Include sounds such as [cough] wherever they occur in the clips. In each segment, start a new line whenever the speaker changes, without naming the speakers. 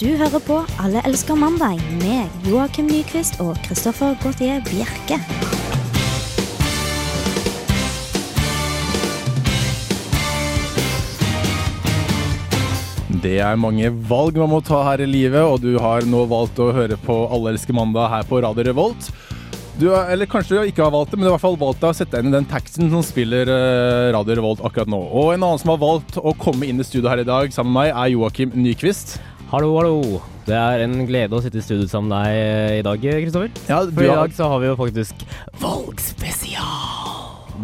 Du hører på Alle elsker mandag med Joakim Nyquist og Christoffer Gautier Bjerke.
Det er mange valg man må ta her i livet, og du har nå valgt å høre på Alle elsker mandag her på Radio Revolt. Du, har- eller kanskje du ikke har valgt det, men du har i hvert fall valgt å sette deg inn i den taxien som spiller eh, Radio Revolt akkurat nå. Og en annen som har valgt å komme inn i studio her i dag sammen med meg, er Joakim Nyquist.
Hallo, hallo. Det er en glede å sitte i studio sammen med deg eh, i dag, Kristoffer.
Ja, du
For i
har
dag så har vi jo faktisk valgspesial.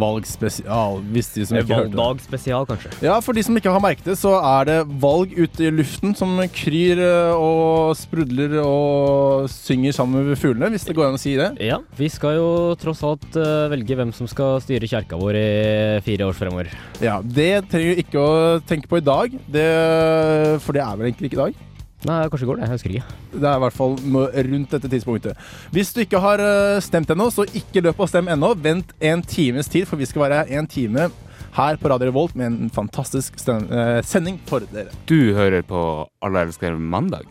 valgspesial, hvis de som
Eh,
ikke hørte det.
Valgdagsspesial, kanskje.
Ja, for de som ikke har merket det, så er det valg ute i luften som kryr eh, og sprudler og synger sammen med fuglene, hvis det går an å si det.
Ja, vi skal jo tross alt eh, velge hvem som skal styre kjerka vår i fire år fremover.
Ja, Det trenger vi ikke å tenke på i dag, det, for det er vel egentlig ikke i dag.
Nei, kanskje går det. Jeg husker ikke.
Det er i hvert fall nå rundt dette tidspunktet. Hvis du ikke har eh, stemt ennå, så ikke løp og stem ennå. Vent en times tid, for vi skal være her en time her på Radio Revolt med en fantastisk stem- eh, sending for dere.
Du hører på Alle elsker mandag.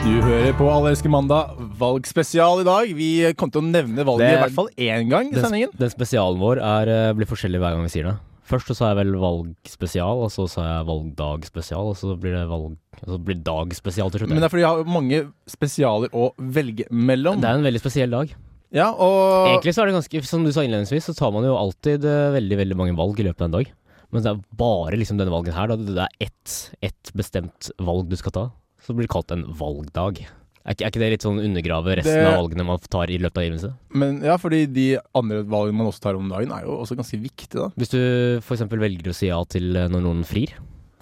Du hører på Alle elsker mandag, valgspesial i dag. Vi kommer til å nevne valget
Det-
i hvert fall én gang i sendingen.
Den, den spesialen vår er, eh, blir forskjellig hver gang vi sier det. Først så sa jeg vel valgspesial, og så sa jeg valgdagsspesial, og så blir det valg... Og så blir det dagspesial til slutt.
Men det er
Det
fordi vi har mange spesialer å velge mellom.
er en veldig spesiell dag.
Ja, og
Egentlig så er det ganske, som du sa innledningsvis, så tar man jo alltid eh, veldig, veldig mange valg i løpet av en dag. Men det er bare liksom denne valgen her, da. Det er ett, ett bestemt valg du skal ta. Så blir det kalt en valgdag. Er ikke, er ikke det litt sånn undergrave resten
Det-
av valgene man tar i løpet av livet sitt?
men, ja, fordi de andre valgene man også tar om dagen, er jo også ganske viktige, da.
Hvis du for eksempel velger å si ja til eh, når noen frir,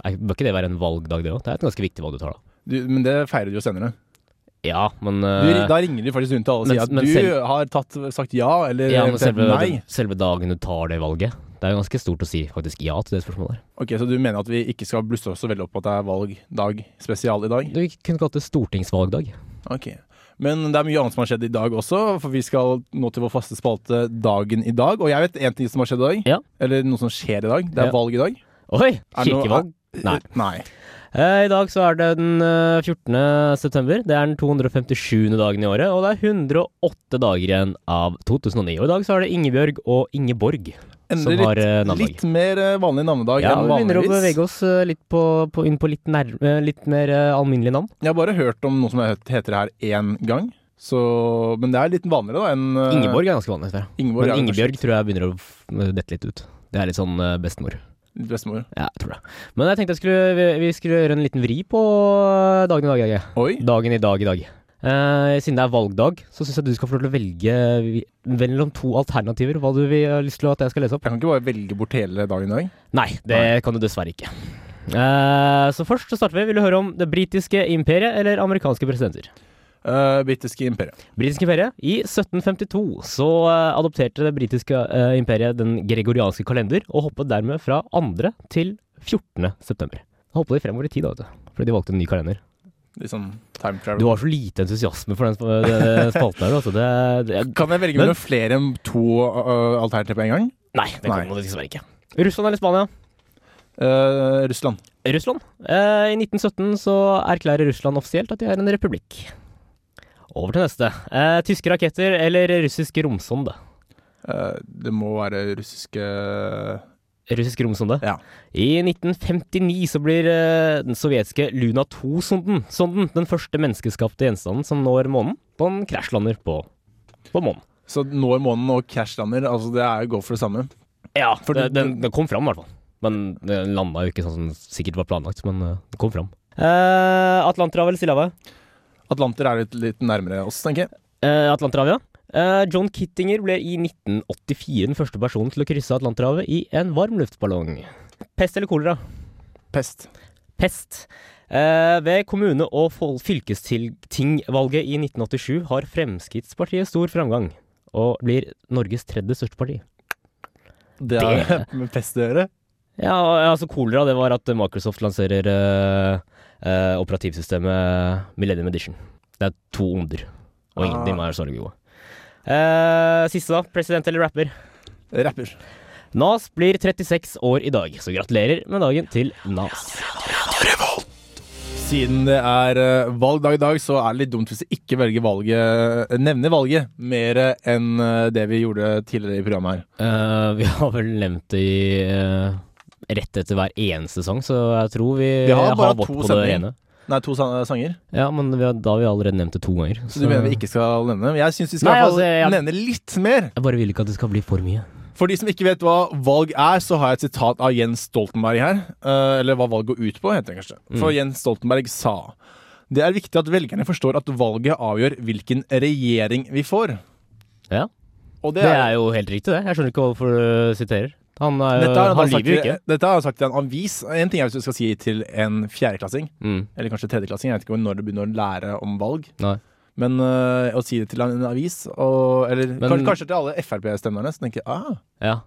er, bør ikke det være en valgdag det òg? Det er et ganske viktig valg du tar da.
Du, men det feirer du jo senere.
Ja, men
Du,
eh,
da ringer de faktisk rundt til alle og
men-
sier at
men
du
selv-
har tatt, sagt ja eller
ja, men
eventuelt
selve,
nei.
selve dagen du tar det valget, det er jo ganske stort å si faktisk ja til det spørsmålet. der.
Ok, Så du mener at vi ikke skal blusse oss så veldig opp på at det er valgdag spesial i dag?
Du kunne kalt det stortingsvalgdag.
Ok. Men det er mye annet som har skjedd i dag også, for vi skal nå til vår faste spalte Dagen i dag. Og jeg vet én ting som har skjedd i dag,
Ja.
eller noe som skjer i dag. Det er
Ja.
valg i dag.
Oi!
Er det noe-
Kirkevalg? Nei.
Nei.
Eh, I dag så er det den eh, 14. september. Det er den 257. dagen i året, og det er 108 dager igjen av 2009. Og i dag så er det Ingebjørg og Ingeborg som
Endelig
har eh,
litt,
navnedag.
litt mer eh, vanlig navnedag
Ja,
enn
vi begynner å
vanligvis.
bevege oss eh, litt på, på, inn på litt, nær, eh, litt mer eh, alminnelige navn.
Jeg har bare hørt om noe som het- heter det her én gang, så, men det er litt vanligere da enn eh,
Ingeborg er ganske vanlig. tror jeg.
Ingeborg
Men
er kanskje
Ingebjørg tror jeg begynner å f- eh, dette litt ut. Det er litt sånn eh, bestemor.
litt Bestemor.
Ja, jeg tror det. Men jeg tenkte jeg skulle, vi, vi skulle gjøre en liten vri på eh, dagen i dag. Hege.
Oi.
dagen i dag i dag. Eh, siden det er valgdag, så syns jeg du skal få lov til å velge vi- mellom to alternativer hva du vil, har lyst til at jeg skal lese opp.
Jeg kan ikke bare velge bort hele dagen i dag.
Nei, det
Nei.
kan du dessverre ikke. Eh, så først så starter vi. Vil du høre om det britiske imperiet eller amerikanske presidenter?
Uh, Britiske imperiet.
Britiske imperiet. I 1752 så eh, adopterte det britiske eh, imperiet den gregorianske kalender, og hoppet dermed fra 2. til 14. september. Da hoppet de fremover i tid, da, vet du. Fordi de valgte en ny kalender.
Litt sånn time
Du
travel.
har så lite entusiasme for den sp- [laughs] den spalten her, altså. Det, det,
Kan jeg velge
Men-
mellom flere enn to uh, alternativer på en gang?
Nei, det
Nei.
kan man dessverre ikke. Russland eller Spania?
Eh, Russland.
Russland. Eh, I 1917 så erklærer Russland offisielt at de er en republikk. Over til neste. Eh, tyske raketter eller russisk romsonde?
Eh, det må være russiske
Russisk romsonde?
Ja.
I 1959 så blir eh, den sovjetiske Luna 2-sonden sonden, den første menneskeskapte gjenstanden som når månen. Den krasjlander på, på månen.
Så når månen og crashlander, altså det er go for det samme.
Ja,
For
det-
du-
den, den kom fram i hvert fall. Men den landa jo ikke sånn som sikkert var planlagt, men eh, den kom fram. Eh, Atlanterhavet eller Stillehavet?
Atlanter er litt, litt nærmere oss, tenker jeg.
Eh, Atlanterhavet, ja. Eh, John Kittinger ble i 1984 den første personen til å krysse Atlanterhavet i en varmluftballong. Pest eller kolera?
Pest.
Pest. Eh, ved kommune- og fol- fylkestingvalget i 1987 har Fremskrittspartiet stor framgang, og blir Norges tredje største parti.
Det er med [laughs] pest å gjøre.
Ja, altså kolera, det var at Microsoft lanserer eh, eh, operativsystemet Millennium Edition. Det er to onder, og ingen
Ah.
av dem er særlig gode. Eh, siste, da. President eller rapper?
Rapper.
Nas blir 36 år i dag, så gratulerer med dagen til Nas.
Siden det er eh, valgdag i dag, så er det litt dumt hvis vi ikke velger valget, eh, nevner valget mer enn eh, det vi gjorde tidligere i programmet her.
Eh, vi har vel nevnt det i eh, rett etter hver eneste sang, så jeg tror vi,
Vi har bare
vårt
to
på det
sendinger.
rene.
Nei, to sa- sanger.
Ja, men vi har, da har vi allerede nevnt det to ganger.
Så du mener vi ikke skal nevne? Men Jeg syns vi skal
Nei,
i hvert fall
altså, jeg-
nevne litt mer.
Jeg bare vil ikke at det skal bli for mye.
For de som ikke vet hva valg er, så har jeg et sitat av Jens Stoltenberg her. eh, Eller hva valg går ut på, heter det kanskje. For Jens Stoltenberg sa det er viktig at velgerne forstår at valget avgjør hvilken regjering vi får.
Ja,
Og
Det er jo helt riktig, det. Jeg skjønner ikke hvorfor du siterer. Han, er jo,
Dette har
Eh,
han,
han,
da sagt,
lyver jo ikke.
til- dette har han sagt til en avis. En ting er hvis du skal si til en fjerdeklassing,
Mm.
eller kanskje tredjeklassing, jeg vet ikke når du begynner å lære om valg.
Nei.
Men øh, å si det til en avis, og, eller
Men-
kan- kanskje til alle Frp-stemmerne, som tenker ah,
Ja.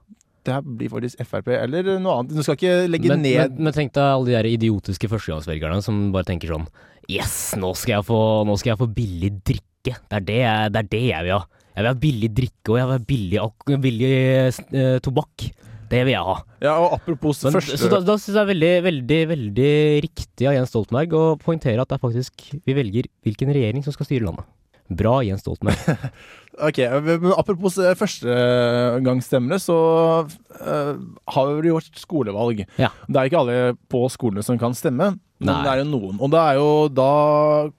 det her blir faktisk Frp, eller noe annet. Du skal ikke legge
Men,
ned
men, men tenk deg alle de der idiotiske førstegangsvelgerne som bare tenker sånn Yes, nå skal jeg få, nå skal jeg få billig drikke. Det er det, jeg, det er det jeg vil ha. Jeg vil ha billig drikke, og jeg vil ha billig, alk- billig eh, tobakk. Det vil jeg ha.
Ja, og apropos
Men,
første
Så da, da syns jeg det er veldig, veldig, veldig riktig av Jens Stoltenberg å poengtere at det er faktisk vi velger hvilken regjering som skal styre landet. Bra, Jens Stoltenberg.
Ok, men Apropos eh, førstegangsstemmere, så eh, har vi jo gjort skolevalg.
Ja.
Det er ikke alle på skolene som kan stemme, men
Nei.
det er jo noen. Og det er jo da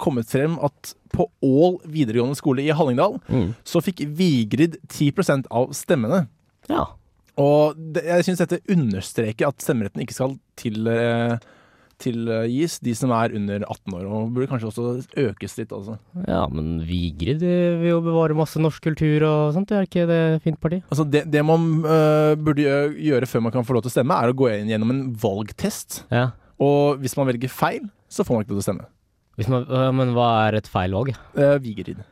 kommet frem at på Ål videregående skole i Hallingdal
Mm.
så fikk Vigrid 10 av stemmene.
Ja.
Og det, jeg syns dette understreker at stemmeretten ikke skal til, eh, tilgis de som er under 18 år, og burde kanskje også økes litt. Altså.
Ja, men Vigrid eh, vil jo bevare masse norsk kultur og sånt, det er ikke det fint parti?
Altså det, det man eh, burde gjø- gjøre før man kan få lov til å stemme, er å gå inn gjennom en valgtest.
Ja.
Og hvis man velger feil, så får man ikke lov til å stemme.
Hvis man, øh, men hva er et feil valg?
Uh, Vigerid.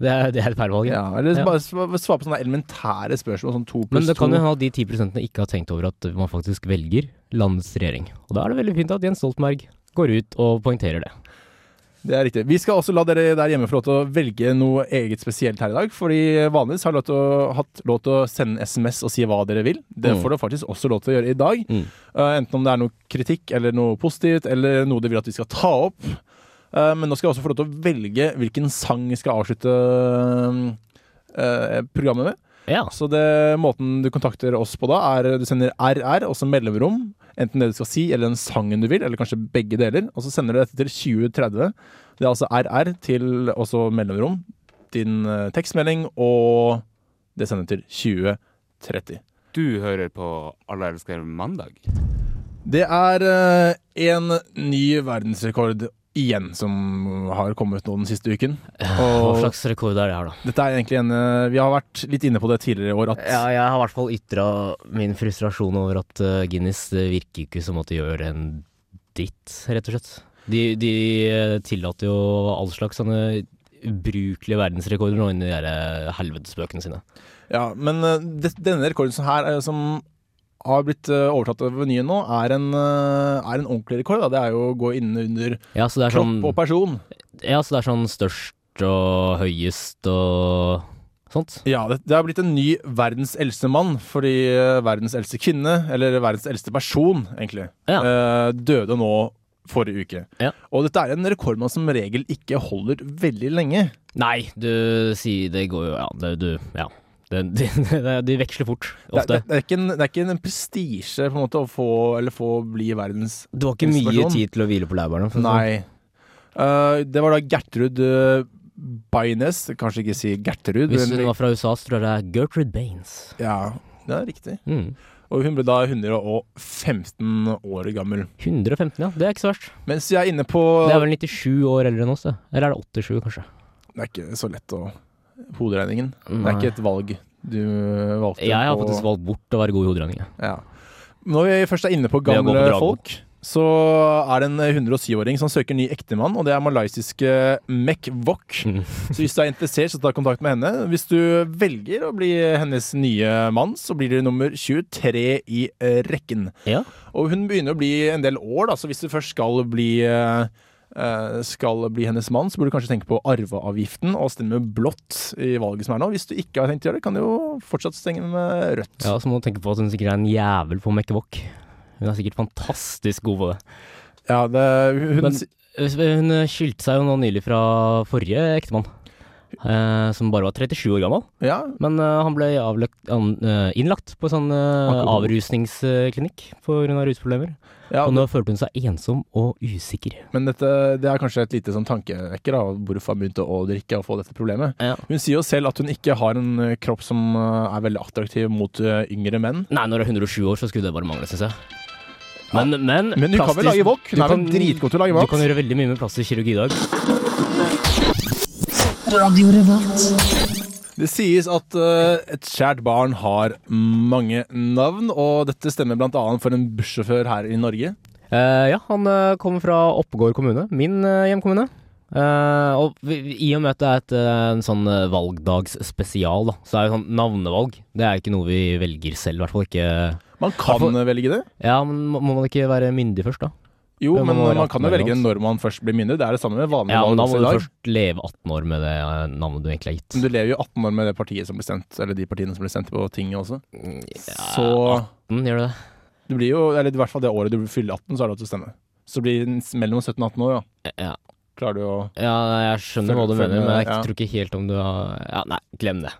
Det er, det er et feil valg. Ja.
Ja, eller
Ja.
bare sva- svare på sånne elementære spørsmål, sånn to
Men
pluss
det
to.
kan jo hende at de 10 ikke har tenkt over at man faktisk velger landets regjering. Og da er det veldig fint at Jens Stoltenberg går ut og poengterer det.
Det er riktig. Vi skal også la dere der hjemme få lov til å velge noe eget spesielt her i dag. Fordi vanligvis har dere lov til å- hatt lov til å sende SMS og si hva dere vil. Det
Mm.
får dere faktisk også lov til å gjøre i dag.
Mm.
Eh, enten om det er noe kritikk eller noe positivt, eller noe dere vil at vi skal ta opp. Eh, men nå skal jeg også få lov til å velge hvilken sang vi skal avslutte eh, programmet med.
Ja.
Så det, måten du kontakter oss på da, er du sender RR, og så mellomrom. Enten det du skal si, eller den sangen du vil, eller kanskje begge deler. Og så sender du dette til 2030. Det er altså RR til også mellomrom. Din eh, tekstmelding, og det sender til 2030.
Du hører på Alle elsker mandag.
Det er eh, en ny verdensrekord igjen som har kommet nå den siste uken.
[laughs] Hva
Og
slags rekord er det her, da?
dette er egentlig en eh, Vi har vært litt inne på det tidligere i år at
Ja, jeg har i hvert fall ytra min frustrasjon over at eh, Guinness det virker ikke som at de gjør en ditt, rett og slett. De, de eh, tillater jo all slags sånne ubrukelige verdensrekorder nå inni de der eh, helvetesbøkene sine.
Ja, men eh, det, denne rekorden som, her, eh, som har blitt eh, overtatt av menyen nå, er en, eh, er en ordentlig rekord. Da. Det er jo å gå inn under
Ja, så det er sånn
kropp og person.
Ja, så det er sånn størst og høyest og sånt.
Ja, det, det har blitt en ny verdens eldste mann, fordi eh, verdens eldste kvinne, eller verdens eldste person, egentlig,
Ja.
eh, døde nå forrige uke.
Ja.
Og dette er en rekord man som regel ikke holder veldig lenge.
Nei, du sier det går jo Ja, det, du Ja. Det, [laughs] de, de veksler fort,
Det, det,
ofte.
det, er ikke en, det er ikke en prestisje på en måte å få, eller få bli verdens
Du har ikke mye
Inspirasjon.
tid til å hvile på laurbærene. for å si det sånn.
Nei. Eh, det var da Gertrud uh, Baines. Kanskje ikke si Gertrud,
Hvis hun
men
var fra USA, så tror jeg det er Gertrude Baines.
ja, det er riktig.
Mm.
Og hun ble da 115 år gammel.
115, ja. Det er ikke så verst.
Mens jeg er inne på
Det er vel 97 år eldre enn oss, det. Eller er det 87, kanskje.
Det er ikke så lett å Hoderegningen. Det er ikke et valg du valgte.
Jeg har
på-
faktisk valgt bort å være god i hoderegning. jeg.
Ja. Når vi først er inne på
Det å gå på
gamle
Drago.
folk, så er det en 107-åring som søker ny ektemann, og det er malaysiske Mek Wok.
Mm.
Så hvis du er interessert, så ta kontakt med henne. Hvis du velger å bli hennes nye mann, så blir du nummer 23 i eh, rekken.
Ja.
Og hun begynner å bli en del år, da, så hvis du først skal bli eh, eh, skal bli hennes mann, så burde du kanskje tenke på arveavgiften og stemme blått i valget som er nå. Hvis du ikke har tenkt å gjøre det, kan du jo fortsatt stenge med rødt.
ja, så må du tenke på at hun sikkert er en jævel på Mekkevåk. Hun er sikkert fantastisk god på det.
Ja, det, hun,
Men- eh, Hun skilte seg jo nå nylig fra forrige ektemann, eh, som bare var 37 år gammel.
Ja,
Men eh, han ble avlagt, an, eh, innlagt på sånn eh,
Alkohol.
avrusningsklinikk pga. rusproblemer.
ja
Og nå følte hun seg ensom og usikker.
Men dette, det er kanskje et lite sånn tankevekker, da, hvorfor hun begynte å drikke og få dette problemet.
Ja.
Hun sier jo selv at hun ikke har en eh, kropp som eh, er veldig attraktiv mot eh, yngre menn.
Nei, når du er 107 år, så skulle det bare mangle, syns jeg. Men, men,
Men hun kan vel lage wok? Hun er vel
kan-
dritgod til å lage
Du
wok?
kan gjøre veldig mye med plastisk kirurgi i dag.
Det sies at eh, et kjært barn har mange navn, og dette stemmer bl.a. for en bussjåfør her i Norge.
Eh, ja, han eh, kommer fra Oppegård kommune, min eh, hjemkommune. Eh, og vi, vi- i og med at det er et, eh, en sånn eh, valgdagsspesial, da, så er jo sånn navnevalg Det er jo ikke noe vi velger selv, i hvert fall ikke
Man kan eh,
Hvorfor-
velge det.
Ja, men må må man ikke være myndig først, da?
Jo,
Men man
men
må være
man kan jo
18 år
velge
også.
når man først blir mindre. Det er det samme med vanlige
Ja, men
valg
da må
også i
du
dag.
først leve 18 år med det eh, navnet du egentlig har gitt.
Men du lever jo 18 år med det partiet som ble sendt, eller de partiene som ble sendt på tinget også. Så
Mm, gjør du det?
det blir jo, eller i hvert fall det året du fyller 18, så har du lov til å stemme. Så blir den s- mellom 17 og 18 år, ja.
Ja,
Klarer du å
ja jeg skjønner
Følg-
hva du
følg
mener, men
med,
jeg
ja.
tror ikke helt om du har Ja, nei, glem det.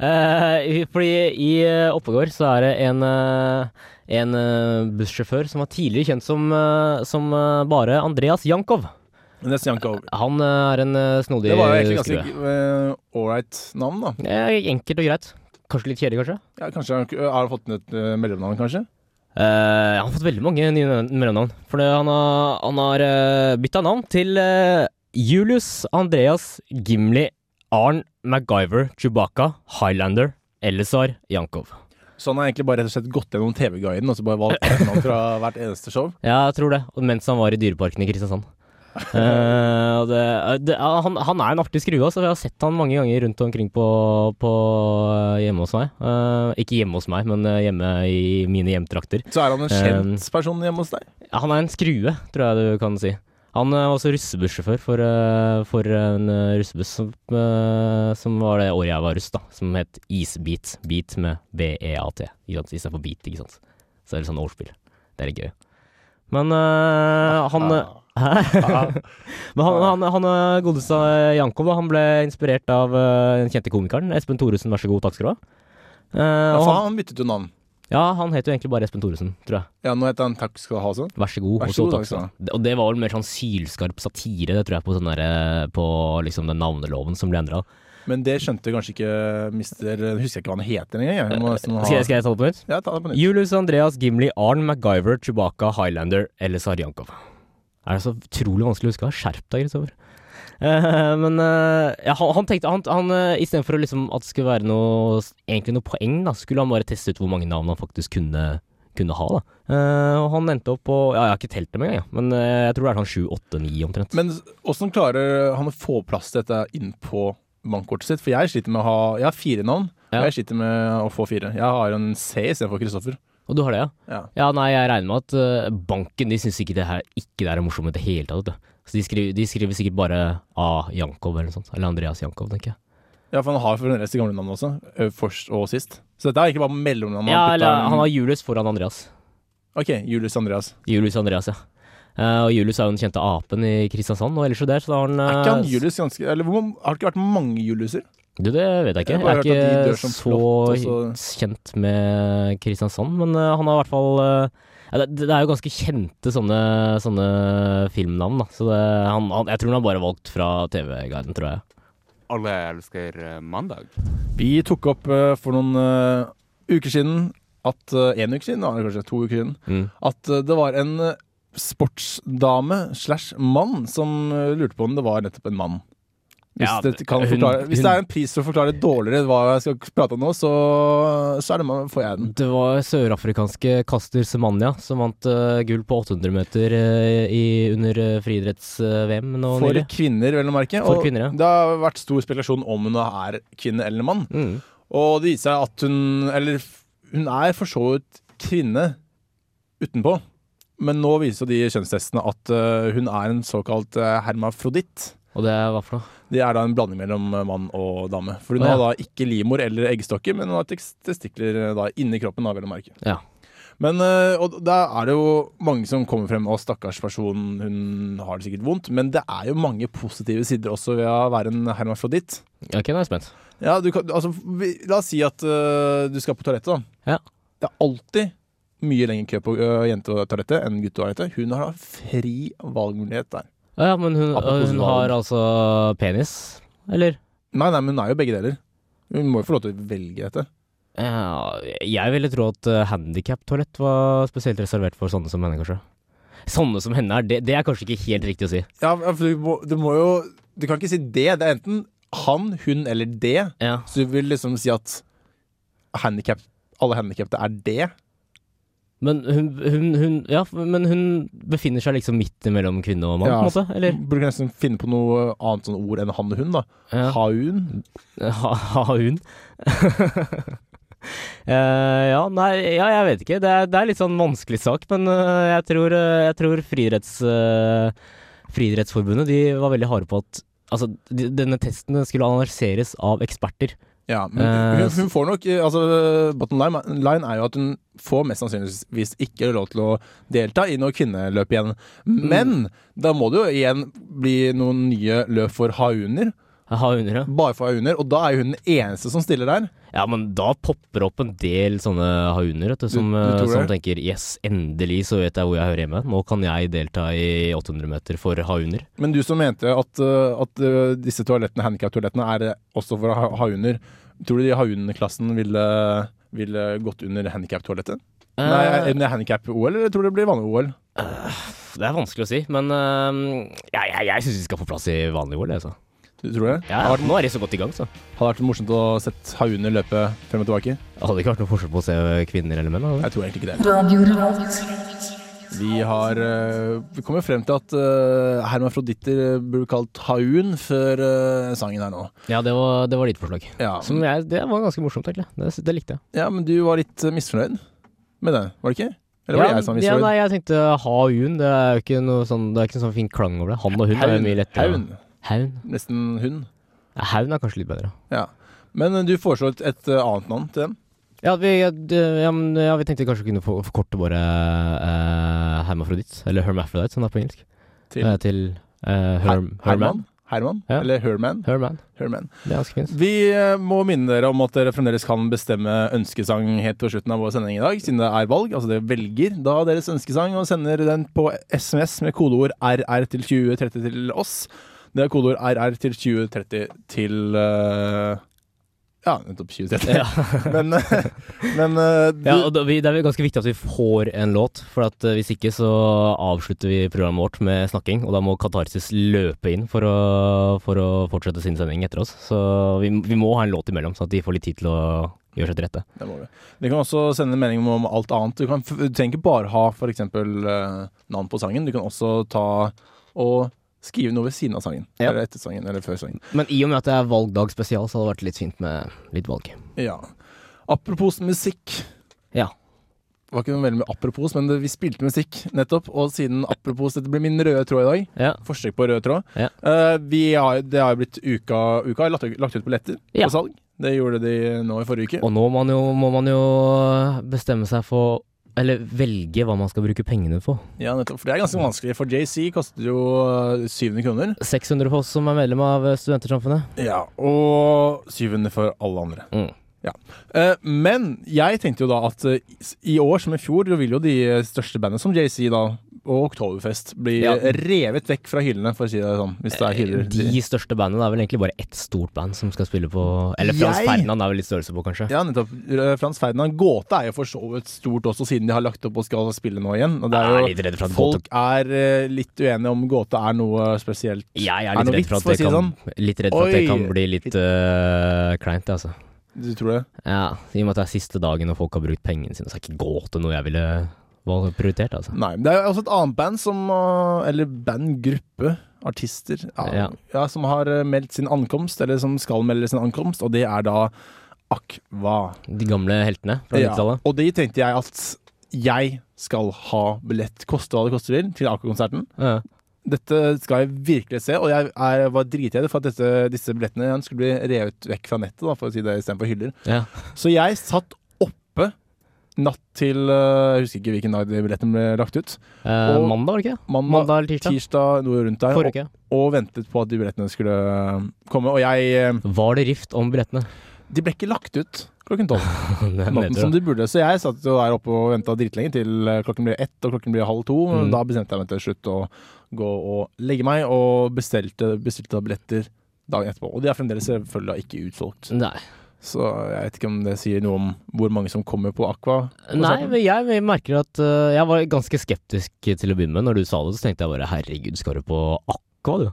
Eh, fordi i eh, Oppegård så er det en, eh, en eh, bussjåfør som var tidligere kjent som, eh, som eh, bare Andreas Jankov.
Nesten janka over.
Han eh, er en eh, snodig
Det var jo egentlig
skrue.
ganske ålreit navn, da.
Eh, enkelt og greit. Kanskje litt kjedelig, kanskje.
Ja, kanskje han har han fått et eh, mellomnavn, kanskje?
Eh, han har fått veldig mange nye nø- mellomnavn. For det- han har, han har eh, bytta navn til eh, Julius Andreas Gimli Arn MacGyver Chewbacca Highlander Elisar Jankov.
Så han Sånn har egentlig bare rett og slett gått gjennom TV-guiden og så bare valgt ett navn fra
[laughs]
hvert eneste show.
Ja, jeg tror det. og Mens han var i Dyreparken i Kristiansand. Eh, og det, det, ja, han, han er en artig skrue, altså. Jeg har sett han mange ganger rundt omkring på, på eh, hjemme hos meg. Eh, ikke hjemme hos meg, men eh, hjemme i mine hjemtrakter.
Så er han en
Um,
kjent person hjemme hos deg.
Han er en skrue, tror jeg du kan si. Han eh, var også russebussjåfør for, eh, for en eh, russebuss som, eh, som var det året jeg var russ, da. Som het Isbeat. Beat med B-E-A-T. ikke sant? Istedenfor beat, ikke sant. Så det er litt sånn ordspill. Det er litt gøy. Men eh, han eh,
Ah,
[laughs] Hæ?
[laughs]
Men han, han, han eh, godeste eh, Jankov, da, han ble inspirert av eh, den kjente komikeren Espen Thoresen, vær så god, takk skal du ha. Eh,
Ja,
og
faen,
han,
han byttet jo navn.
ja, han heter jo egentlig bare Espen Thoresen, tror jeg.
Ja, nå heter han Takk skal du ha sånn.
Vær så god.
Vær
og
så
så
god,
takk
takk skal du
skal du ha. Og det var vel mer sånn sylskarp satire, det tror jeg, på, sånn derre- på liksom den navneloven som ble endra.
Men det skjønte kanskje ikke mister Nå Husker jeg ikke hva han heter engang. jeg. Jeg må nesten ha-
Skal, jeg- skal jeg ta det på nytt?
Ja, ta det på nytt.
Julius Andreas Gimli Arn MacGyver Chewbacca Highlander eller Sarjankov. Er det så utrolig vanskelig å huske? Skjerp deg, Kristoffer. Eh, men eh, ja, han, han tenkte han, han, eh, Istedenfor å liksom at det skulle være noe, egentlig noe poeng, da, skulle han bare teste ut hvor mange navn han faktisk kunne, kunne ha. Da. Eh, og han endte opp på Ja, jeg har ikke telt dem engang, ja. men eh, jeg tror det er sånn sju, åtte, ni omtrent.
Men åssen klarer han å få plass til dette inn på bankkortet sitt? For jeg sliter med å ha Jeg har fire navn.
Ja.
Og jeg sliter med å få fire. Jeg har en C istedenfor Kristoffer.
Og du har det, ja?
Ja.
Ja, nei, jeg regner med at eh, banken de syns ikke det her ikke det her er morsomt i det hele tatt. vet du. Så de skriver, de skriver sikkert bare A. Jankov eller noe sånt. Eller Andreas Jankov, tenker jeg.
ja, for han har for den resten gamle navn også. ø, Først og sist. Så dette er egentlig bare mellomnavn.
Ja,
putta
eller
en-
han har Julius foran Andreas.
Ok, Julius Andreas.
Julius Andreas, ja. Eh, og Julius er jo den kjente apen i Kristiansand, og ellers jo der, så da har han
Er
eh,
ikke han Julius ganske Eller hvor, mange- har det ikke vært mange Juliuser?
Du, det vet jeg ikke.
Jeg har bare
Jeg
hørt at
er
de dør
ikke
som
så
flott, og
kjent med Kristiansand, men eh, han har i hvert fall eh, ja, det, det er jo ganske kjente sånne, sånne filmnavn, da. Så det, han, han, jeg tror han har bare valgt fra TV-guiden, tror jeg.
Alle elsker eh, mandag.
Vi tok opp eh, for noen eh, uker siden at Én uke siden, da, eller kanskje to uker siden. At eh, det var en eh, sportsdame slash mann som eh, lurte på om det var nettopp en mann. Hvis,
Ja,
det, kan
hun-
forklare, hvis det
hun-
er en pris for å forklare dårligere hva jeg skal prate om nå, så, så er det, med- får jeg den.
Det var sørafrikanske Kaster Semanya som vant eh, gull på 800 meter eh, i, under uh, friidretts-VM nå
For
nylig.
kvinner, vel å merke.
For kvinner, ja.
Det har vært stor spekulasjon om hun er kvinne eller mann.
Mm.
Og det viser seg at hun Eller f- hun er for så vidt kvinne utenpå. Men nå viser jo de kjønnstestene at eh, hun er en såkalt eh, hermafroditt.
Og det er hva for noe?
Det er da en blanding mellom eh, mann og dame. For hun
Å, ja.
har da ikke livmor eller eggstokker, men hun har tes- testikler eh, da inni kroppen. da, vel å merke.
Ja.
Men eh, og da er det jo mange som kommer frem, og stakkars personen, hun har det sikkert vondt. Men det er jo mange positive sider også ved å være en hermafroditt.
Ja, Ok, nå er jeg spent.
Ja, du kan, altså, vi, la oss si at øh, du skal på toalettet, da.
Ja.
Det er alltid mye lengre kø på øh, jentetoalettet enn guttetoalettet. Hun har fri valgmulighet der.
Ja, men hun,
Apropos
hun
valg.
har altså penis, eller?
Nei, nei, men hun er jo begge deler. Hun må jo få lov til å velge dette.
Ja, jeg ville tro at uh, handikap-toalett var spesielt reservert for sånne som henne, kanskje. Sånne som henne er, det, det er kanskje ikke helt riktig å si.
Ja, for du må, du må jo Du kan ikke si det. Det er enten han, hun eller det.
Ja.
Så du vil liksom si at handicap, alle handikappede er det.
Men hun, hun, hun, ja, men hun befinner seg liksom midt mellom kvinne og mann,
Ja.
på en måte? Eller?
Burde nesten finne på noe annet sånn ord enn han og hun, da.
Ja.
Haun.
Ha, ha hun. [laughs] Eh, ja, nei, ja, jeg vet ikke. Det er, det er litt sånn vanskelig sak, men eh, jeg tror, eh, jeg tror friidretts, eh, Friidrettsforbundet de var veldig harde på at altså, de, denne testen skulle analyseres av eksperter.
Ja, men
Eh,
hun, hun får nok eh, altså, Bottom line, line er jo at hun får mest sannsynligvis ikke lov til å delta i noe kvinneløp igjen. Men da må det jo igjen bli noen nye løp for hauner.
Ha under, ja.
Bare for hauner, og da er jo hun den eneste som stiller der.
Ja, men da popper opp en del sånne hauner, vet du, som,
Du- du tror
eh, som
det?
tenker yes, endelig så vet jeg hvor jeg hører hjemme. Nå kan jeg delta i 800 meter for hauner.
Men du som mente at, eh, at eh, disse toalettene, handikap-toalettene er eh, også for ha- hauner, tror du de hauneklassen ville, ville gått under handikap-toalettet? Nei,
Eh,
under handikap-OL, eller tror du det blir vanlig OL?
det er vanskelig å si, men eh, ja, jeg, jeg syns vi skal få plass i vanlig OL, jeg, altså.
Du tror det?
Ja, nå er de så godt i gang, så.
Hadde vært morsomt å sett hauner løpe frem og tilbake.
Det hadde ikke vært noe forskjell på å se kvinner eller menn. hadde det?
Jeg tror egentlig ikke det. Vi har eh, Vi kommer frem til at eh, hermafroditter burde kalt haun før eh, sangen her nå.
Ja, det var, det var ditt forslag.
Ja.
Som jeg, det var ganske morsomt, egentlig. Det, det likte jeg.
ja, men du var litt eh, misfornøyd med det, var det ikke? Eller var
ja,
det jeg som var
ja,
misfornøyd?
nei, jeg tenkte haun. Det er jo ikke noe sånn, det er ikke noe sånn fin klang over det. Han og hun er jo mye lettere.
haun.
Haun.
Nesten hund.
Ja, Haun er kanskje litt bedre.
Ja. Men eh, du foreslo et, et eh, annet navn til dem.
Ja, vi, ja, d- ja, men, ja, vi tenkte kanskje vi kunne få- forkorte våre eh, hermafroditt, eller hermafrodite, som det er på engelsk,
Til?
Eh, til eh, herm, Herman.
Herman?
Ja.
Eller Herman?
Herman.
Herman.
Det er ganske fint.
Vi eh, må minne dere om at dere fremdeles kan bestemme ønskesang helt på slutten av vår sending i dag, siden det er valg. Altså dere velger da deres ønskesang og sender den på SMS med kodeord RR til 2030 til oss. Det er kodeord RR til 2030 til eh, Ja, nettopp 2030. [laughs] men eh, men eh, du,
Ja, og da, vi, det er vel ganske viktig at vi får en låt, for at eh, hvis ikke så avslutter vi programmet vårt med snakking, og da må Katarsis løpe inn for å, for å fortsette sin sending etter oss. Så vi, vi må ha en låt imellom, sånn at de får litt tid til å gjøre seg til rette.
det må vi. Dere kan også sende melding om alt annet. Du, kan, f- du trenger ikke bare ha f.eks. Uh, navn på sangen. Du kan også ta og skrive noe ved siden av sangen.
Ja.
Eller etter sangen, eller før sangen.
Men i og med at det er valgdag spesial, så hadde det vært litt fint med litt valg.
Ja. Apropos musikk.
Ja.
Det var ikke noe veldig med apropos, men det, vi spilte musikk nettopp. Og siden apropos dette ble min røde tråd i dag,
Ja.
forsøk på rød tråd
Ja.
Eh, vi har, Det har jo blitt uka, uka har lagt, lagt ut billetter
Ja.
på salg. Det gjorde de nå i forrige uke.
Og nå må man, jo, må man jo eh, bestemme seg for Eller velge hva man skal bruke pengene på.
Ja, nettopp, for det er ganske vanskelig, for JC koster jo eh, 700 kroner.
600 for oss som er medlem av eh, Studentersamfunnet.
Ja, Og 700 for alle andre.
Mm.
Ja. Eh, men jeg tenkte jo da at eh, i år som i fjor, da vil jo de eh, største bandene som JC da, og Oktoberfest bli
Ja. Eh,
revet vekk fra hyllene, for å si det sånn. Hvis det er hyller.
De største bandene det er vel egentlig bare ett stort band som skal spille på Eller Frans
Jeg-
Ferdinand er vel litt størrelse på, kanskje.
Ja, nettopp. Eh, Frans Ferdinand Gåte er jo for så vidt stort også, siden de har lagt opp og skal spille nå igjen. Og det
Jeg er
er
litt redd for
jo,
at
folk er eh, litt uenige om Gåte er noe spesielt.
Jeg
Er
er litt
det noe
redd for
vits, for å
at
si
det
det sånn?
kan, litt redd for at det
Oi.
kan bli litt øh, kleint, altså.
Du tror det?
Ja, I og med at det er siste dagen og folk har brukt pengene sine, så er det ikke gå til noe jeg ville valgt- prioritert, altså.
Nei. men Det er jo også et annet band som eh, Eller bandgruppe, artister, ja, ja.
Ja.
som har eh, meldt sin ankomst, eller som skal melde sin ankomst, og det er da Akva.
De gamle heltene fra
Ja,
90-tallet.
Og det tenkte jeg at jeg skal ha billett, koste hva det koste vil, til Aker-konserten.
Ja.
Dette skal jeg virkelig se, og jeg er, var dritredd for at dette, disse billettene igjen skulle bli revet vekk fra nettet, da, for å si det istedenfor hyller.
Ja.
Så jeg satt oppe Natt til eh, Jeg husker ikke hvilken dag billetten ble lagt ut.
Eh,
Og-
mandag, var det ikke?
Mandag,
Mandag eller tirsdag?
tirsdag, noe rundt der.
Forrige uke.
Og, og ventet på at de billettene skulle komme. Og jeg eh,
Var det rift om billettene? [laughs]
De ble ikke lagt ut klokken tolv.
Det
natten
mener
som
du.
de burde. Så jeg satt jo der oppe og venta dritlenge til eh, klokken ble ett og klokken ble halv to.
Mm.
Da bestemte jeg meg til slutt å gå og legge meg, og bestilte, bestilte da billetter dagen etterpå. Og de er fremdeles selvfølgelig da ikke utsolgt.
Nei,
Så jeg vet ikke om det sier noe om hvor mange som kommer på Aqua.
Nei men jeg, jeg merker at eh, jeg var ganske skeptisk til å begynne med. Når du sa det, så tenkte jeg bare herregud, skal du på Aqua, du?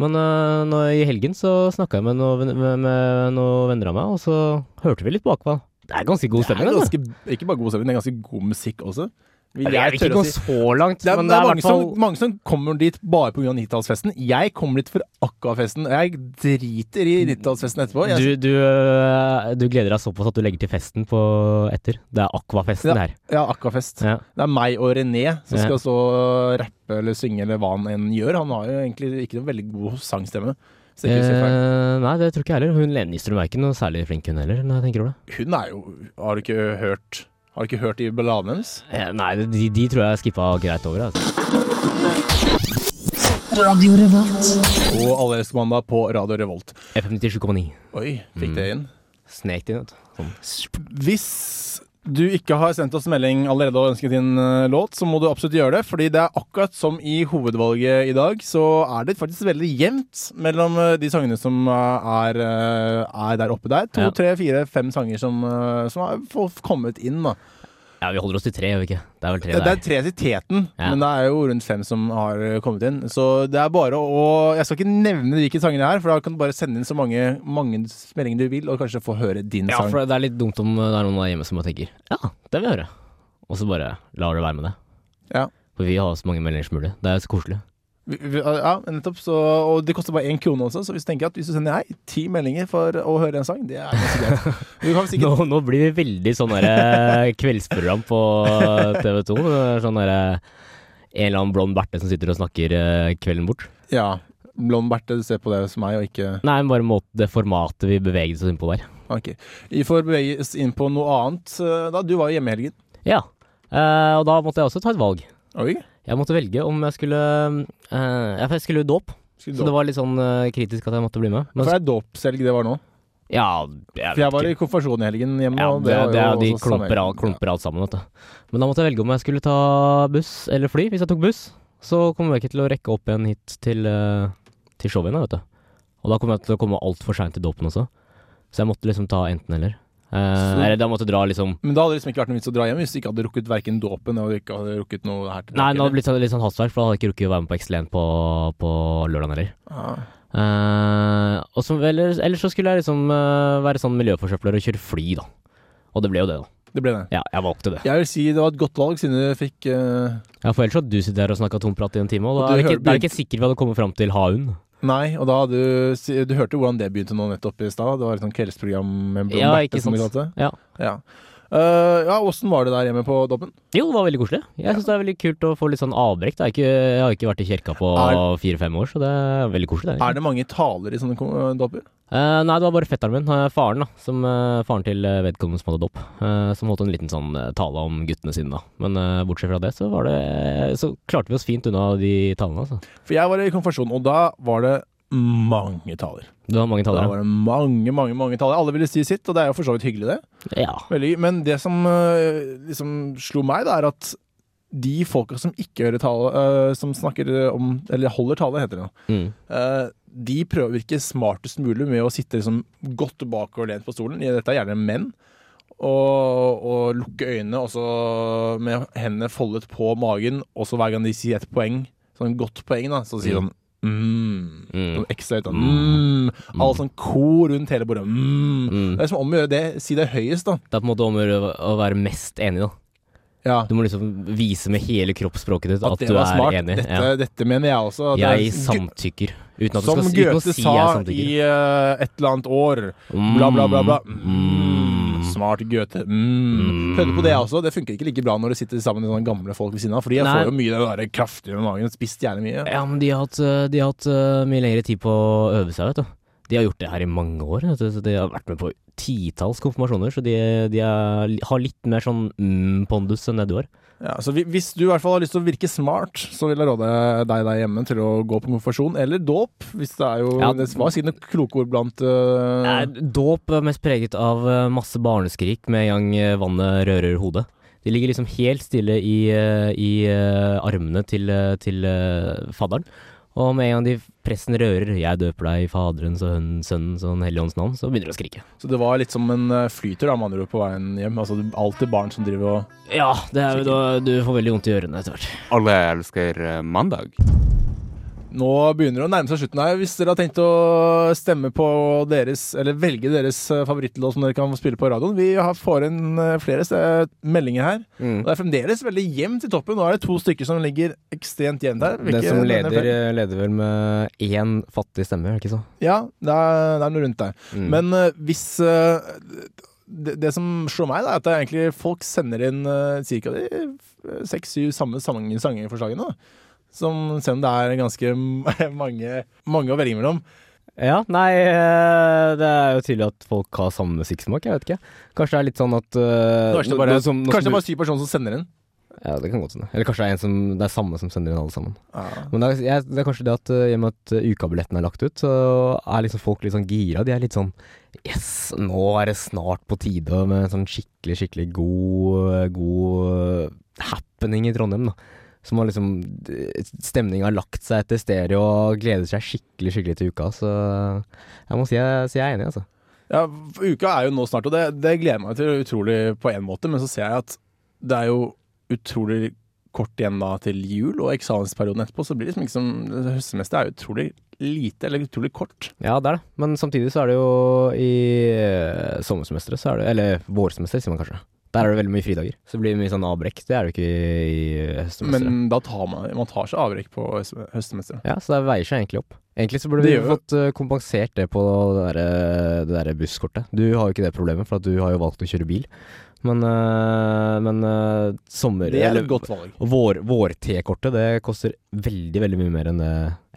Men eh, nå, i helgen så snakka jeg med noen, ven- med, med noen venner av meg, og så hørte vi litt på Aqua. Det er ganske god
Det er
stemning. altså.
ganske, ikke bare god stemning, det er ganske god musikk også. Vil
Jeg, vil
tørre
ikke
å
gå
si.
så langt,
det er,
men
det er
i
mange,
hvert fall
som, mange som kommer dit bare pga. 90-tallsfesten. Jeg kommer dit for Aqua-festen. Jeg driter i 90-tallsfesten etterpå. Jeg,
du, du, øh, du gleder deg såpass at du legger til festen på etter. Det er Aquafesten her.
ja, Aqua-fest.
Ja.
Det er meg og René som
Ja.
skal stå og rappe eller synge eller hva han enn gjør. Han har jo egentlig ikke noen veldig god sangstemme. Så det er ikke så feil.
Eh, nei, det tror ikke jeg heller. Hun Lene Nystrøm er ikke noe særlig flink, hun heller. Når jeg tenker over det.
Hun er jo Har du ikke hørt Har du ikke hørt de balladene hennes?
Eh, nei, de, de tror jeg skippa greit over. Altså.
Og Alle elsker mandag på Radio Revolt.
FM97,9.
Oi, fikk
Mm.
det inn?
Snek det inn, vet du. Sånn.
Hvis du ikke har sendt oss melding allerede og ønsket din eh, låt, så må du absolutt gjøre det. Fordi det er akkurat som i hovedvalget i dag, så er det faktisk veldig jevnt mellom eh, de sangene som eh, er, eh, er der oppe der. To,
Ja.
tre, fire, fem sanger som, eh, som har fått kommet inn, da.
Ja, vi holder oss til tre, gjør vi ikke? Det er vel tre
Det
der.
er tre til teten,
Ja.
men det er jo rundt fem som har eh, kommet inn. Så det er bare å Jeg skal ikke nevne hvilke sanger det er, for da kan du bare sende inn så mange, mange meldinger du vil, og kanskje få høre din
Ja,
sang.
for det er litt dumt om eh, det er noen der hjemme som bare tenker ja, det vil jeg høre. Og så bare lar det være med det.
Ja.
For vi har så mange meldinger som mulig. Det er jo så koselig.
Vi- vi- Ja, nettopp. Så, og det koster bare én krone også, så hvis du tenker at hvis du sender deg ti meldinger for å høre en sang, det er ganske [laughs] greit. Du kan
Nå,
sikkert
nå blir vi veldig sånn derre [laughs] kveldsprogram på TV 2. Sånn derre en eller annen blond berte som sitter og snakker eh, kvelden bort.
Ja. Blond Berthe, du ser på det som meg, og ikke
Nei, men bare måte, det formatet vi beveget oss inn på der.
Ok. Vi får beveges inn på noe annet eh, da. Du var jo hjemme i helgen.
Ja. eh, og da måtte jeg også ta et valg.
Oi.
Jeg måtte velge om jeg skulle eh, ja, for Jeg skulle jo dåp,
Skulle
så
dåp.
det var litt sånn eh, kritisk at jeg måtte bli med.
For
Men,
det er dåpshelg det var nå.
ja,
For jeg var
vet
i
ikke.
konfirmasjon i helgen hjemme.
ja,
og
det,
var
det,
jo
er- De
også samme
klumper, alt-
helgen.
klumper alt sammen, vet du. Men da måtte jeg velge om jeg skulle ta buss eller fly. Hvis jeg tok buss, så kommer jeg ikke til å rekke opp igjen hit til, eh, til showet igjen, da, vet du. Og da kommer jeg til å komme altfor seint til dåpen også. Så jeg måtte liksom ta enten eller. Eh,
Så-
eller jeg måtte dra liksom
Men da hadde det liksom ikke vært noen vits å dra hjem hvis du ikke hadde rukket verken dåpen eller ikke hadde rukket noe her til
Nei, nå har det blitt sånn, litt sånn hastverk, for da hadde jeg ikke rukket å være med på XL1 på, på lørdagen heller.
Ja.
Eh, og så, eller, eller så skulle jeg liksom eh, være sånn miljøforsøpler og kjøre fly, da. Og det ble jo det, da.
Det ble det.
Ja, jeg valgte det.
Jeg vil si det var et godt valg, siden du fikk eh,
Ja, For ellers hadde du sittet her og snakka tomprat i en time,
Og
og da er
du
det
hører-
ikke, det er ikke sikkert vi hadde kommet fram til Haun.
Nei, og da hadde du, si- du hørte jo hvordan det begynte nå nettopp i stad. Det var et sånt kveldsprogram med Blom
Ja,
Berte,
ikke
som de
sant.
kalte det.
Ja.
Ja. Eh, ja, åssen var det der hjemme på Dobben?
Jo, det var veldig koselig. Jeg syns det er veldig kult å få litt sånn avbrekk. da. Jeg, har ikke- jeg har ikke vært i kirka på
Er-
fire-fem år, så det er veldig koselig.
Er det mange taler i sånne ko- dobber?
Eh, nei, det var bare fetteren min, eh, faren da, som, eh, faren til eh, vedkommende som hadde dåp, eh, som holdt en liten sånn eh, tale om guttene sine da. Men eh, bortsett fra det, så, var det, eh, så klarte vi oss fint unna de talene. Altså.
For jeg var i konfirmasjon, og da var det mange taler.
Det var mange
Da
talere.
var det mange, mange, mange taler. Alle ville si sitt, og det er jo for så vidt hyggelig, det.
Ja.
Veldig, men det som eh, liksom slo meg, da, er at de folka som ikke hører tale, eh, som snakker om Eller holder tale, heter det nå.
Mm.
Eh, de prøver å virke smartest mulig med å sitte liksom godt bakoverlent på stolen. Dette er gjerne menn. Og, og lukke øynene og så med hendene foldet på magen. Og så hver gang de sier et poeng, sånn godt poeng, da, så sier de sånn mm.
Mm.
Sånn ekstra høyt. da. Mm. Alle sånn kor rundt hele bordet. Mm.
Mm.
Det er som om å gjøre det. Si det høyest, da.
Det er på en måte om å gjøre å være mest enig da.
Ja.
Du må liksom vise med hele kroppsspråket ditt at,
At det
du
var
er
smart.
enig.
Dette,
Ja.
dette mener jeg også. at
Jeg
det er-
samtykker. Uten at du
Som
skal, uten å
Goethe
si
sa
jeg samtykker.
i eh, et eller annet år. Bla, bla, bla. bla.
Mm.
Mm. Smart Goethe. Mm. Prøvde på det også. Det funker ikke like bra når du sitter sammen med sånne gamle folk ved siden av. For de
Nei.
får jo mye av det der kraftige med magen. Spist gjerne mye.
Ja, men de har hatt, eh, de har hatt eh, mye lengre tid på å øve seg, vet du. De har gjort det her i mange år. Vet du. så De har vært med på titalls konfirmasjoner, så de, de er, har litt mer sånn mm, pondus enn det du har.
Ja, så hvi- Hvis du i hvert fall har lyst til å virke smart, så vil jeg råde deg der hjemme til å gå på konfirmasjon eller dåp. Hvis det er jo
Ja.
Det var sikkert noen kloke ord blant øh,
Nei, Dåp er mest preget av eh, masse barneskrik med en gang eh, vannet rører hodet. De ligger liksom helt stille i, eh, i eh, armene til, eh, til eh, fadderen. Og med en gang de presten rører 'jeg døper deg i Faderens og Hønnen- Sønnens og Den hellige ånds navn', så begynner de å skrike.
Så det var litt som en øh, flyter, da, med andre ord, på veien hjem. Altså det er alltid barn som driver og
Ja, det er, jo da, du får veldig vondt i ørene etter hvert.
Alle elsker eh, mandag.
Nå begynner det å nærme seg slutten her. Hvis dere har tenkt å stemme på deres, eller velge deres eh, favorittlåt som dere kan spille på radioen Vi har- får inn eh, flere eh, meldinger her.
Mm.
Og det er fremdeles veldig jevnt i toppen. Nå er det to stykker som ligger ekstremt jevnt her. Hvilke
Den som
mener
leder,
flere?
eh, leder vel med én fattig stemme, er det ikke så?
Ja, det er, det er noe rundt der.
Mm.
Men eh, hvis eh, det, det som slår meg, da, er at det er egentlig folk sender inn uh, ca. de seks-syv samme sang- sangerforslagene. da. Som, selv om det er ganske [laughs] mange, mange å velge mellom.
Ja, nei, eh, det er jo tydelig at folk har samme musikksmak, jeg vet ikke. Kanskje det er litt sånn at eh,
Kanskje det
nå-
bare,
nå som- nå
kanskje det
som du-
bare er syv personer som sender inn.
Ja, det kan godt hende. Eller kanskje det er en som, det er samme som sender inn alle sammen.
Ja.
Men det er, jeg, det er kanskje det at eh, i og med at eh, ukabilletten er lagt ut, så er liksom folk litt sånn gira. De er litt sånn Yes, nå er det snart på tide med en sånn skikkelig, skikkelig god, eh, god eh, happening i Trondheim, da. Som har liksom Stemninga har lagt seg etter stereo og gleder seg skikkelig, skikkelig til uka. Så jeg må si jeg, si jeg er enig, altså.
Ja, for uka er jo nå snart, og det, det gleder jeg meg til utrolig på én måte, men så ser jeg at det er jo utrolig kort igjen da til jul, og eksamensperioden etterpå, så blir det liksom ikke som Høstsemesteret er jo utrolig lite, eller utrolig kort.
Ja, det er det. Men samtidig så er det jo i eh, sommersemesteret, så er det Eller vårsemesteret, sier man kanskje. Der er det veldig mye fridager. Så det blir mye sånn avbrekk. Det er det jo ikke i eh, i høstsemesteret.
Men da tar man, man tar seg avbrekk på høst- høstsemesteret.
Ja, så det veier seg egentlig opp. Egentlig så burde vi
Det gjør
fått eh, kompensert det på det derre der busskortet. Du har jo ikke det problemet, for at du har jo valgt å kjøre bil. Men, eh, men eh, sommer...
Det er
eller
et godt valg.
Vår- Vår-T-kortet det koster veldig, veldig mye mer enn det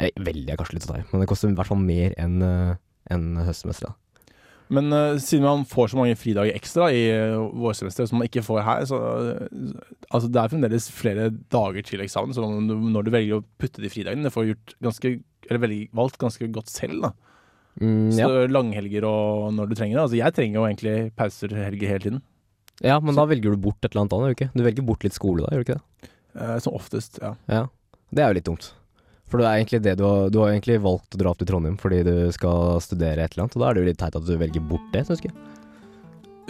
Eller veldig er kanskje litt å ta i, men det koster i hvert fall mer enn eh, enn høstsemesteret.
Men eh, siden man får så mange fridager ekstra i eh, vårsemesteret som man ikke får her, så eh, Altså, det er fremdeles flere dager til eksamen, så om du- når du velger å putte de fridagene, det får gjort ganske eller veldig, valgt ganske godt selv, da.
Mm, ja.
Så langhelger og når du trenger det. Altså, jeg trenger jo egentlig pauser helger hele tiden.
Ja, men da velger du bort et eller annet annet, gjør du ikke? Du velger bort litt skole da, gjør du ikke det?
Eh, som oftest, ja.
Ja. Det er jo litt dumt. For det er egentlig det du har, du har egentlig valgt å dra opp til Trondheim fordi du skal studere et eller annet, og da er det jo litt teit at du velger bort det, syns jeg.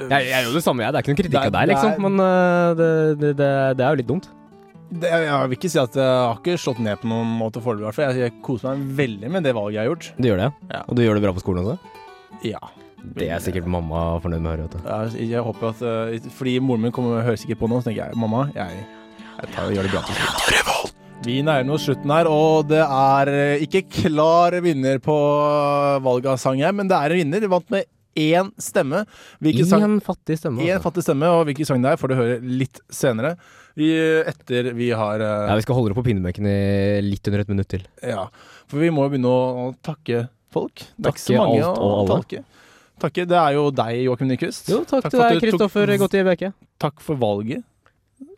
Jeg, jeg gjør det samme, jeg. Det er ikke noen kritikk av
Det er-
deg,
det er-
liksom, men øh, det, det, det, det er jo litt dumt.
Det, jeg vil ikke si at jeg har ikke slått ned på noen måte foreløpig, i hvert fall. Jeg, jeg koser meg veldig med det valget jeg har gjort.
Du gjør det,
Ja.
Og du gjør det bra på skolen også?
Ja.
Det er sikkert mamma fornøyd med å høre, vet du.
Jeg, jeg håper at eh, Fordi moren min kommer hører sikkert på nå, så tenker jeg mamma, jeg, jeg tar, gjør det bra til slutt. Vi nærmer oss slutten her, og det er eh, ikke klar vinner på valget av sang her, men det er en vinner. Vi vant med én stemme.
I
Hvilken sang
en fattig stemme.
Én
altså.
fattig stemme, og hvilken sang det er, får du høre litt senere. Vi, etter vi har eh,
Ja, vi skal holde det på pinnebenken i litt under et minutt til.
Ja. For vi må jo begynne å å takke folk. Det er ikke så
Takke
mange
alt
å
og alle.
takke. Takke. Det er jo deg, Joakim Nyquist.
Jo, takk, til
for at
deg,
du tok-
Kristoffer Gottlieb Bjerke.
Takk for valget.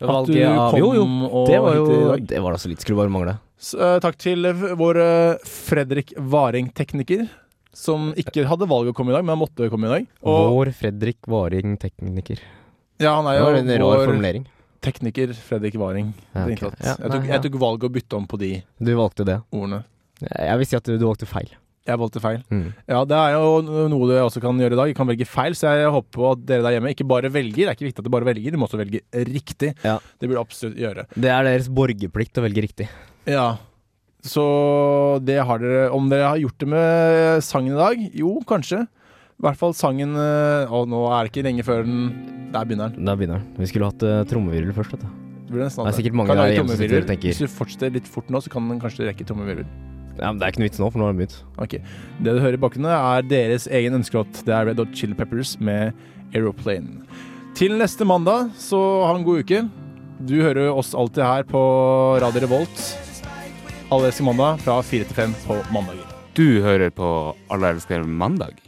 At du
Valget av
kom
Jo, jo.
og
Det var
hit
jo
i dag.
Det var da så litt, skulle bare mangle.
Så, eh, takk til eh, vår eh, Fredrik Varing, tekniker. Som ikke hadde valg å komme i dag, men han måtte komme i dag. Og,
Vår Fredrik Varing tekniker.
ja, han
Det var
er
en
jo
rar
vår
formulering.
tekniker Fredrik Varing.
Ja, ok.
Tenkte at-
Ja,
Jeg, tok,
nei, ja.
jeg tok valget å bytte om på de
Du valgte det.
ordene.
Jeg vil si at du, du valgte feil.
Jeg valgte feil.
Mm.
Ja, det er jo noe du også kan gjøre i dag. Du kan velge feil, så jeg håper at dere der hjemme ikke bare velger. Det er ikke viktig at du bare velger, du må også velge riktig.
Ja.
Det burde du absolutt gjøre.
Det er deres borgerplikt å velge riktig.
Ja. Så det har dere Om dere har gjort det med sangen i dag? Jo, kanskje. I hvert fall sangen eh, Å, nå er det ikke lenge før den Der begynner den.
Da begynner den. Vi skulle hatt uh, trommevirvel først. Vet du.
Det, blir nesten
Det er
at-
sikkert mange
Kan
der
lage
hjemme som sitter og
trommevirvel.
tenker-
Hvis du fortsetter litt fort nå, så kan den kanskje rekke trommevirvel.
Ja, men det er ikke noe vits nå, for nå har den begynt.
Ok. Det du hører i bakgrunnen, er deres egen ønskelåt. Det er Red Hot Chili Peppers med Aeroplane. Til neste mandag, så ha en god uke. Du hører oss alltid her på Radio Revolt. Alle elsker mandag fra fire til fem på mandager.
Du hører på Alle elsker mandag.